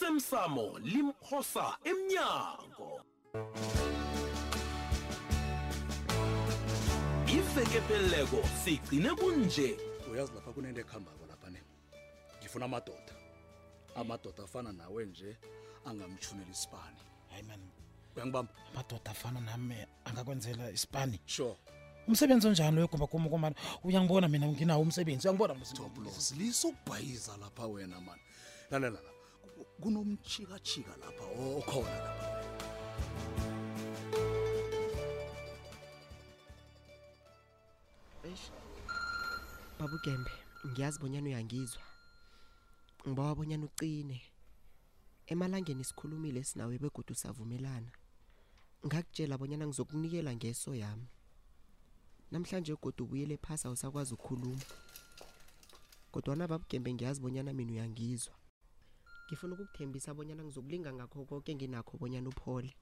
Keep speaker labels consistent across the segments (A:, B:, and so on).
A: osemsamo limphosa emnyango ivekepeleko sigcine kunje
B: uyazi lapha kunento ekuhambako lapha ne ngifuna amadoda amadoda afana nawe nje angamtshunela isipani
C: hayi mani
B: uyangibamba
C: amadoda afana nami angakwenzela isipani
B: sure
C: umsebenzi onjani loyo gumba kuma komani uyangibona mina nginawo umsebenzi uyangibona
B: toplos lisokubhayiza lapha wena mani lalela la kunomchikachika lapha okhona lapha
D: babugembe ngiyazi bonyana uyangizwa ngibawa bonyana ucine emalangeni sikhulumile sinawe begodu savumelana ngakutshela bonyana ngizokunikela ngeso yami namhlanje godu ubuyele phasi awusakwazi ukukhuluma kodwana babugembe ngiyazi bonyana mina uyangizwa ngifuna ukukuthembisa bonyana ngizokulinga ngakho konke nginakho bonyana uphole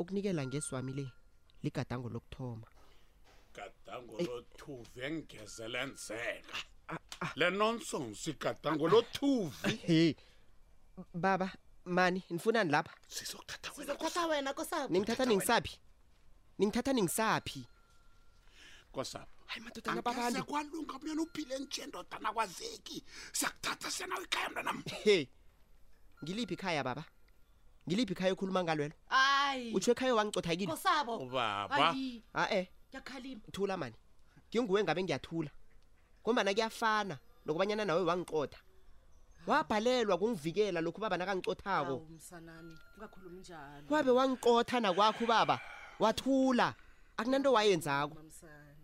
D: ukunikela ngeswami le ligadango lokuthoma
E: gadango lo thuvi engigezele nzeka
D: Ah,
E: le nonsense igadango lo thuvi
D: hey baba mani nifunani lapha
E: sizokuthatha wena
F: sizokuthatha Ah, wena kosabo
D: ningithatha ningisaphi ningithatha ningisaphi
E: kosapho
D: hayi madodana
E: angeze
D: babantu
E: kwalunga mnyana uphile njendodana kwazeki siyakuthatha siyanawo ikhaya mntanam
D: he ngiliphi ikhaya baba ngiliphi ikhaya okhuluma ngalwelo
F: hayi
D: utsho ekhaya wangicothaykile
F: kosabo
E: ubaba
F: hayi
D: a-e
F: ngiyakhalima
D: thula Ah, eh, mani nginguwe ngabe ngiyathula ngombana kuyafana nokubanyana nawe wangicotha wabhalelwa kungivikela lokhu babana kangicothako
F: awu msanami ungakhulumi njalo
D: wabe wangicotha nakwakho ubaba wathula akunanto wayenzako
F: mamsana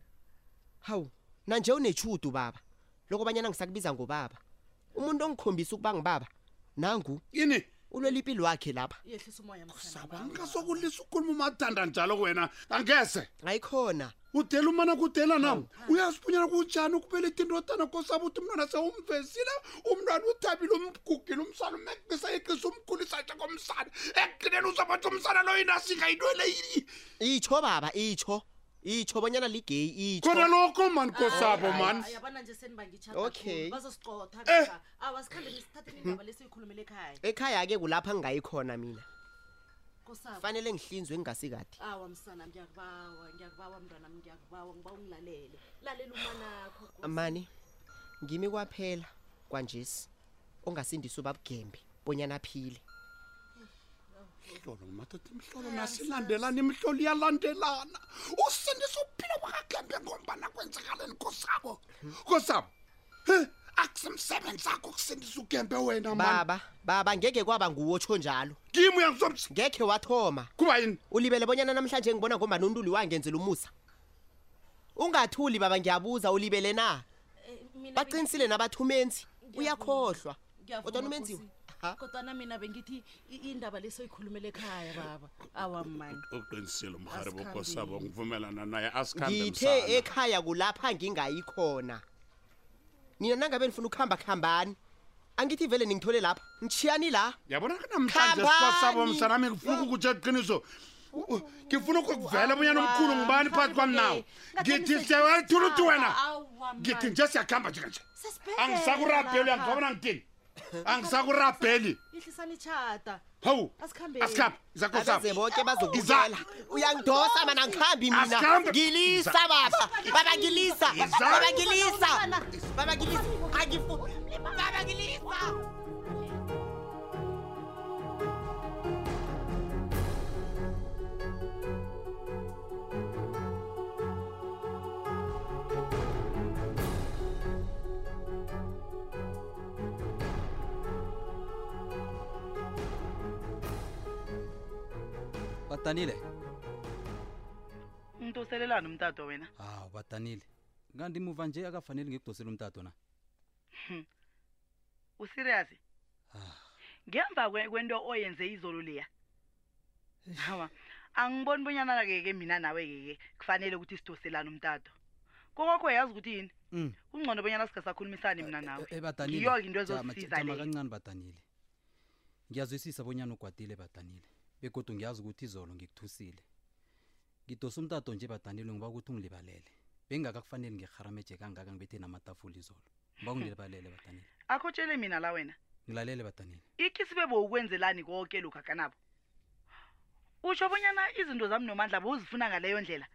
D: hawu nanje unechudu baba lokubanyana ngisakubiza ngobaba umuntu ongikhombisa ukuba ngibaba nangu
E: yini
D: ulwela impilo wakhe lapha
F: yehlisa umoya
E: saba ngingasokulisa ukhuluma umathanda njalo kuwena angeze
D: ayikhona
E: udela umana kudela nam uyazibunyana kunjani ukubeletha indodana kosaba uthi umntwana sewumvezile umntwana uthabile umgugile umsana umekubisa yeqisa umkhulisa njengomsana ekugcineni uzabathi umsana loyo nasinga into leyi
D: itsho baba itsho itsho bonyana ligeyi
E: khona
D: itsho
E: lokho mani kosabo mani
F: yabana nje senibangitshata
D: Okay.
F: bazosicotha
E: Eh. Mhm.
F: kaka awu asikhambe nisithathe indaba lesiyikhulumele ekhaya
D: ekhaya-ke kulapha ngingayikhona mina
F: kosabo
D: fanele ngihlinzwe ngingasikade
F: awa msana ngiyakubawa ngiyakubawa mntwana mi ngiyakubawa ngiba ungilalele lalela umanakho Nkosi.
D: mani ngimi kwaphela kwanjesi ongasindisa ubabugembe bonyana aphile
E: mhlolo madoda imhlolo nasilandelana imihlolo iyalandelana usindisa uphila kwakagembe ngombana kwenzakaleni kosabo kosabo he akusemsebenzi akho ukusindisa ugembe wena mani
D: baba baba ngeke kwaba nguwotsho njalo
E: kimi uyangisobisa
D: ngekhe wathoma
E: kuba yini
D: ulibele bonyana namhlanje ngibona ngombani untuli wangenzela umusa ungathuli baba ngiyabuza ulibele na
F: Eh, mina
D: baqinisile nabathumenzi
F: Ngiyavuma.
D: uyakhohlwa
F: Ngiyavuma,
D: kodwa
F: Nkosi.
D: umenziwe Aha.
F: kodwana mina bengithi i- indaba lesoyikhulumela ekhaya baba awamani
E: uqinisile umhari
F: Asikhambi.
E: bokosabo ngivumelana naye asikhambe
D: ngithe e-
E: msana.
D: ekhaya kulapha ngingayikhona nina nangabe nifuna ukuhamba kuhambani angithi vele ningithole lapha ngitshiyani la
E: yabona namhlanje
D: Khambani.
E: sikosabo msanami ngifuna ukukutsha iqiniso U- u- ngifuna ukukuvela bonyana umkhulu ngubani phakathi kwami nawe ngithi siyawayithuluthi wena ngithi nje siyakuhamba njekanje angisakurabheli uyangizobona ngithini angisakurabheli
F: ihlisani itshata
E: hawu
F: Asikhambeni.
E: asikhambe
D: abeze
E: izakosabo
D: bonke bazokubukela uyangidosa mana ngihambi mina
E: Asihambe.
D: ngilisa baba baba ngilisa
E: Iza.
D: baba ngilisa baba ngilisa angifuni baba ngilisa
G: badanile
H: ngidoselelani umtato wena
G: hawu badanile kanti muva nje akafanele ngikudosela umtato na
H: userious
G: Ah.
H: ngemva kwe- kwento oyenze izolo leya hawa angiboni bonyanakeke mina nawe-keke kufanele ukuthi sidoselane umtato kokokho yazi ukuthi yini
G: Mm.
H: kungcono bonyana sikasakhulumisane mina nawe
G: Eh, eh, Badanile,
H: ngiyo-ke into
G: jama-
H: ezosisiza
G: jama
H: leyo
G: kancane badanile ngiyazwisisa bonyana ugwadile badanile begodwa ngiyazi ukuthi izolo ngikuthusile ngidosa umtato nje badanile ngiba ukuthi ungilibalele bengingakakufanele ngirharameje kangaka ngibethe namatafula izolo ngiba ungilibalele badanile
H: akhotshele mina la wena
G: ngilalele badanile
H: ikisibe bowukwenzelani konke lokhu akanabo utsho bonyana izinto zami nomandla bowuzifuna ngaleyo ndlela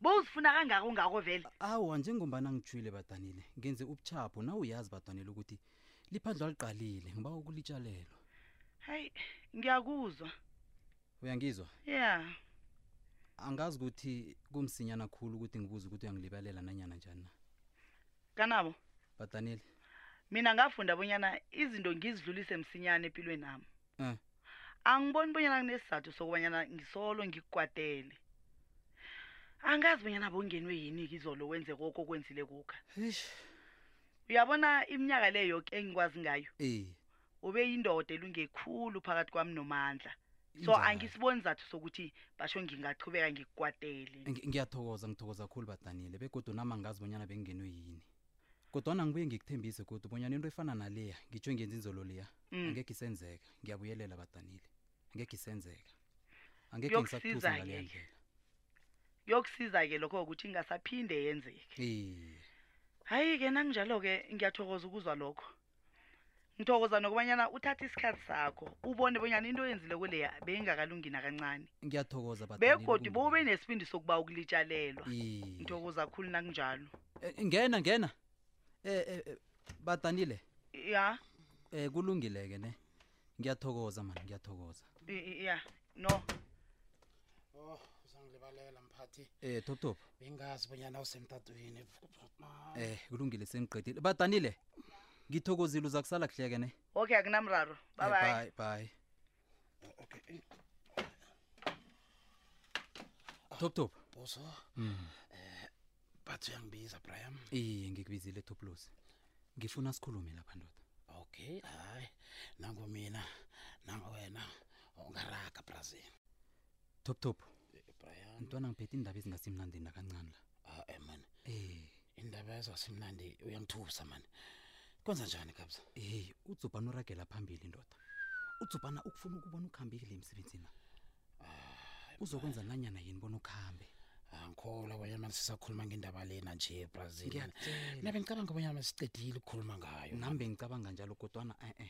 H: bowuzifuna kangako ngako vele
G: awa njengombana ngijwile badanile ngenze ubuchapho nawe uyazi badanile ukuthi liphandlo aliqalile ngiba ukulitshalelwa
H: hayi ngiyakuzwa
G: uyangizwa
H: ya
G: angazi ukuthi kumsinyana khulu ukuthi ngibuze ukuthi uyangilibalela nanyana njani na
H: kanabo
G: badanile
H: mina ngafunda bonyana izinto ngizidlulise msinyane empilweni nami
G: Eh.
H: angiboni bonyana kunesizathu sokubanyana ngisolo ngikukwadele angazi bonyana bongenwe yini izolo wenze koko okwenzile kukha
G: eish
H: uyabona iminyaka le yoke engikwazi ngayo
G: eh
H: ube yindoda elungekhulu phakathi kwami nomandla so
G: Injalo.
H: angisiboni zathu sokuthi basho ngingaqhubeka ngikukwadele
G: Ngi- ngiyathokoza ngithokoza khulu badanile begodwa nama ngazi bonyana bengingenwe yini kodwana ngibuye ngikuthembise kodwa bonyana into efana naleya ngitsho ngenza inzolo leya
H: Mm.
G: angekhe isenzeka ngiyabuyelela badanile angekhe isenzeka angekhe
H: Kuyokusiza
G: ngisakuthusa ngaleya
H: angeke.
G: ndlela
H: kuyokusiza-ke lokho ukuthi ingasaphinde yenzeke
G: iye
H: hayi-ke nanginjalo-ke ngiyathokoza ukuzwa lokho ngithokoza nokubanyana uthathe isikhathi sakho ubone bonyana into oyenzile kuleya beyingakalungi nakancane
G: ngiyathokoza Badanile,
H: begodi bowube
G: kungibona.
H: nesibindi sokuba ukulitshalelwa
G: Iye.
H: ngithokoza khulu nakunjalo
G: Eh, ngena ngena Eh, eh eh, badanile
H: ya
G: eh kulungile ke ne ngiyathokoza mani ngiyathokoza
H: i- i- ya no
I: oh uzangilibalela mphathi
G: eh top top
I: bengazi bonyana usemtatweni
G: eh kulungile sengiqedile badanile ngithokozile uza kusala kuhle ke ne
H: okay akunamraro
G: Eh,
H: bye bye
G: bye top top
I: boso
G: Mm.
I: bathi uyangibiza brian
G: iye ngikubizile top loss ngifuna sikhulume lapha ndoda
I: okay hayi nangumina nangwena ungaraga brazil
G: top top
I: brian
G: mntwana ngiphethe indaba ezingasimnandini nakancane la
I: ae mani
G: eh
I: ah, indaba ezasimnandi uyangithusa mani kwenza njani kabza
G: hey udzubhana uragela phambili ndoda udzubhana ukufuna ukubona ukuhambekile emsebenzini na. uzokwenza nanyana yini bona ukuhambe
I: angikholwa bonyana mani sisakhuluma ngendaba lena nje brazil
G: ngiyakutshela
I: mina bengicabanga bonyana sicedile ukukhuluma ngayo
G: nami bengicabanga njalo kodwana e-e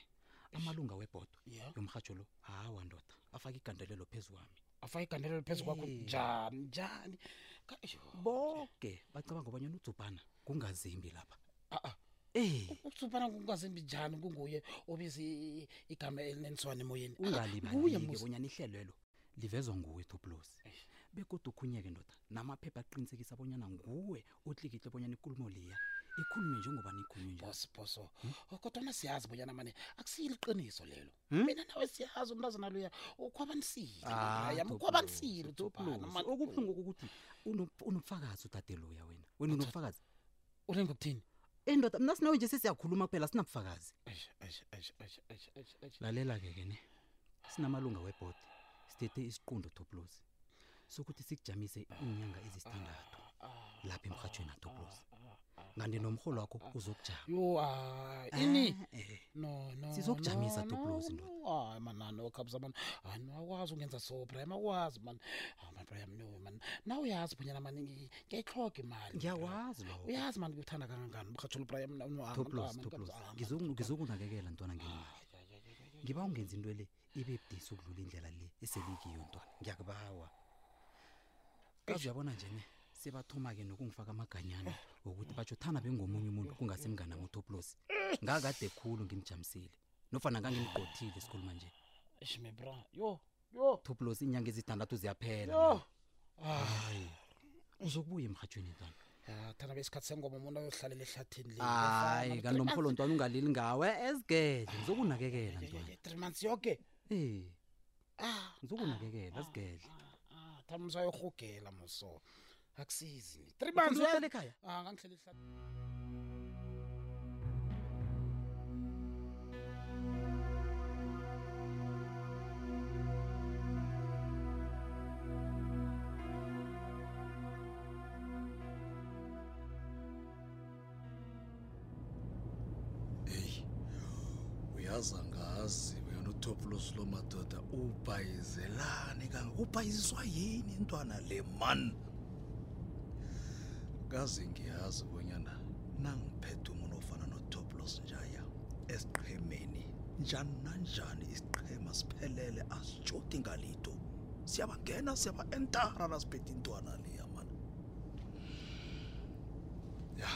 G: amalunga webhodo
I: ya
G: yomrhatsho lo hawa ndoda afake igandelelo phezu kwami
I: afake igandelelo phezu kwakho
G: Eh.
I: njani njani Ka- Eish, Oh.
G: boke bacabanga obanyana udzubhana kungazimbi lapha
I: ah-ah
G: Eh
I: usubana kungazimbi njani kunguye obiza i- igama elinentswane emoyeni Ah, nguye
G: ungalibalike
I: musi.
G: bonyana ihlelwelo livezwa nguwe toplosi
I: Eish.
G: bekodwa ukhunyeke ndoda namaphepha aqinisekisa bonyana nguwe otlikitle bonyana ikulumo liya ikhulume njengoba nikhulume nje
I: boso boso Oh, kodwana siyazi bonyana mane akusiyiliqiniso lelo
G: Hmm?
I: mina nawe siyazi umntazana loya
G: Ah,
I: ukhwabanisile
G: Toplosi, Toplosi. okubuhlungu kokuthi unobufakazi udade loya wena wena unobufakazi
I: ulenga ukuthini
G: endoda mna sinawe nje sesiyakhuluma kuphela sinabufakazi
I: Eish, eish, eish, eish, eish, eish, eish.
G: lalela-ke ke ne sinamalunga webhodi sithethe isiqundo toplosi sokuthi sikujamise iinyanga ezisithandathu
I: Ah,
G: lapha emrhatshweni atoplosi
I: ah, ah.
G: kanti nomrholo wakho uzokujama
I: yo hayi ini
G: Ah, eh.
I: no no no,
G: Sizokujamisa
I: Ah,
G: Toplosi,
I: no. hayi mani nanokhabisa mani hayi Ah, no akwazi ungenza eh, so brahim akwazi mani hayi mani brahim Ah, no mani na uyazi bonyana mani ngi- ngiyayihloga imali
G: ngiyawazi
I: Brahim.
G: lowo
I: uyazi mani ngiwuthanda kangangani umrhatsholo brahim ah,
G: toplos toplos Ngizoku- ngizokunakekela ntwana ngemali ngiba ungenza into le ibe budisi ukudlula indlela le eselikiyo ntwana ngiyakubawa kazi uyabona nje ne sebathoma-ke nokungifaka amaganyana wokuthi batsho thana bengomunye umuntu kungasemngana motoplos ngakade khulu ngimjamisile nofana ngangimgqothile sikhuluma nje
I: ishmebra yo yo
G: toplos inyanga ezitandathu ziyaphela
I: yo Ah,
G: hayi uzokubuya emrhatshweni ntwana
I: Ya, thanda besikhathi sengoma umuntu ayohlalela ehlathini le
G: hayi kanti
I: Three
G: nomholo ntwana ungalili ngawe esigedle ngizokunakekela
I: months-
G: ntwana
I: three months yoke
G: Eh,
I: ah
G: ngizokunakekela sigedle
I: thanda msayorhugela moso akusizi ni. three months
G: Ufuna
I: uyazi?
G: ukuhlala ekhaya
I: ah ngangihlela ehlathini
B: eyi uyaza ngazi wena utoplos lo madoda ubhayizelani kangaka ubhayiziswa yini intwana le mani kaze ngiyazi bonyana nangiphethe umuntu ofana notoplos njaya esiqhemeni njani nanjani isiqhema siphelele asijodi ngalito siyabangena siyaba-entara nasiphethe intwana liya mani ya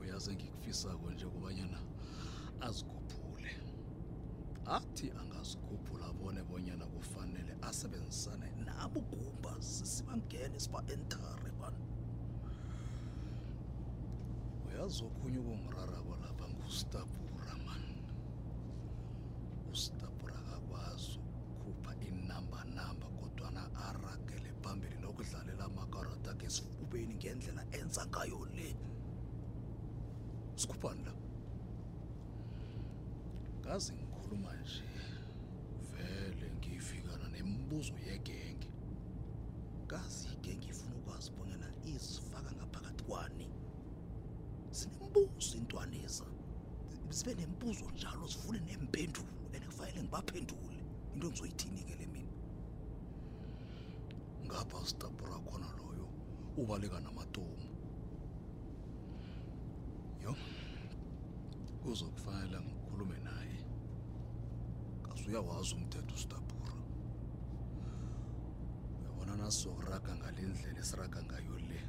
B: uyaze ngikufisako nje kubanyana azikhuphule athi angazikhuphula abone bonyana kufanele asebenzisane nabo kumba sibangene siba-entare bani uyazi okhunye ukungirarabo lapha ngustabura mani ustabura akakwazi ukukhupha inambanamba kodwana aragele phambili nokudlalela amakarata akhe esifubeni ngendlela enza ngayo le sikhuphani la ngazi ngikhuluma nje vele ngifikana nemibuzo yegenge ngazi igenge ifuna ukwazi bonyana izifaka ngaphakathi kwani zinembuzo intwaneza zibe nembuzo njalo zivule nempendulo and kufanele ngibaphendule into engizoyithini-ke le mina ngapha sitabura khona loyo ubaleka namatomu yo kuzokufanele ngikhulume naye kasi uyawazi umthetho usitabura uyabona nasizokuraga ngale ndlela esiraga ngayo le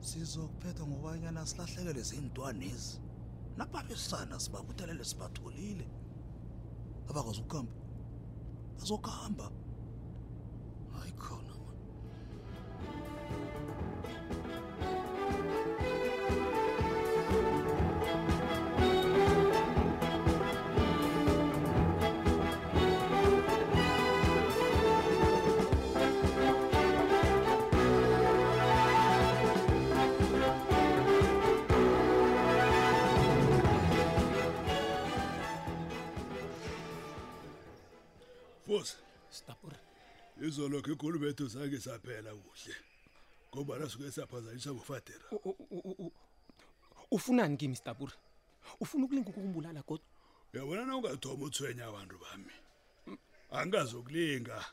B: sizokuphetha ngobanyana silahlekele zintwanezi nababesana sibabuthelele sibatholile abakwazi ukuhamba bazokuhamba hayi khona man
E: fuza
C: sitabura
E: izolokhu ikhulu bethu sange saphela kuhle ngoba nasuke saphazanyiswa ngufadera
C: ufunani kimi sitabura ufuna ukulinga ukukumbulala kodwa
E: uyabona na ungathoma uthwenya abantu bami angikazokulinga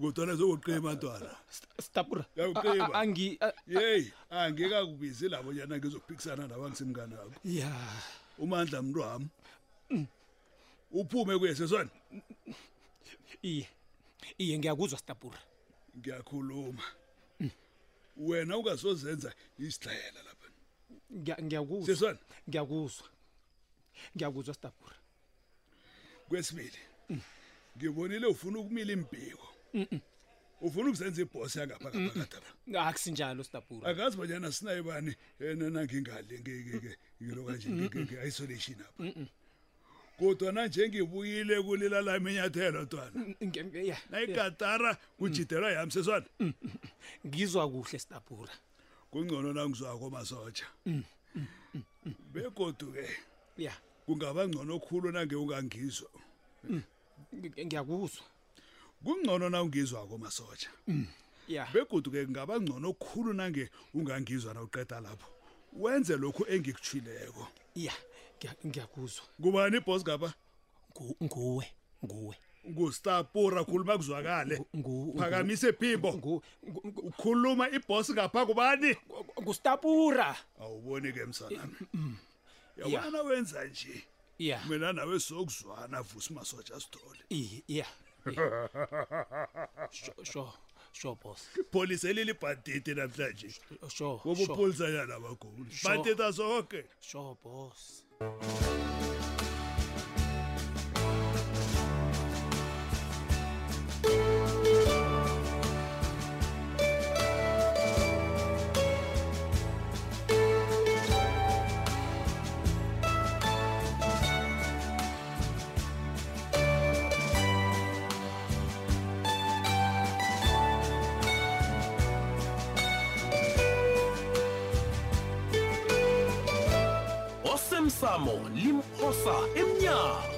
E: kodwana zokuqima ntwana
C: sitabura
E: Uyawuqiba.
C: angi a-
E: yeyi angikakubizi labonyana ngizokuphikisana nawe angisimnganabo
C: ya
E: umandla mntu wami
C: Mm.
E: uphume kuye sesona
C: iye iye ngiyakuzwa sitabura
E: ngiyakhuluma wena ungasozenza isihlayela lapha
C: Ngiya- ngiyakuzwa
E: sesona
C: ngiyakuzwa ngiyakuzwa sitabura
E: kwesibili
C: Mm.
E: ngibonile ufuna ukumila imbiko ufuna ukuzenza ibhosi yangapha ngaphakadaba
C: akusinjalo sitabura
E: angazi banyana sinaye bani Eh, enana ngingalingekeke ngilokanje nge-isolation apha kodwana nje ngibuyile kulila lami inyathelo twana
C: Nge- nge- ya, ya.
E: nayigatara kujidelwa yami seswana
C: ngizwa kuhle sitabura
E: kungcono nangizwako masotsha
C: Mm,
E: begodu-ke
C: ya
E: kungaba ngcono okhulu nange ungangizwa
C: ngi- ngiyakuzwa
E: kungcono na ungizwako masotsha
C: ya
E: begodu-ke kungaba ngcono okhulu nange ungangizwa na uqeda lapho wenze lokhu engikuthileko
C: ya ngiya- ngiyakuzwa
E: ngubani ibhos ngapha
C: Ngu- nguwe nguwe
E: ngustapura khuluma kuzwakale
C: Ngu- ngu-
E: phakamisa iphimbo
C: ngu- ngu- ngu-
E: ukhuluma ibhos ngapha kubani
C: ngustapura
E: awuboni ke msanami
C: Mm, Ya.
E: yabona wenza nje
C: ya
E: mina nawe sokuzwana vusi masotsha sithole
C: iye ya sho sho sho boss
E: polisi elilibhatiti namhlanje
C: sho sho
E: wobupolisanyana abaguli
C: Sure.
E: bhatita zonke
C: sho boss
A: osemsamo limphosa emnyango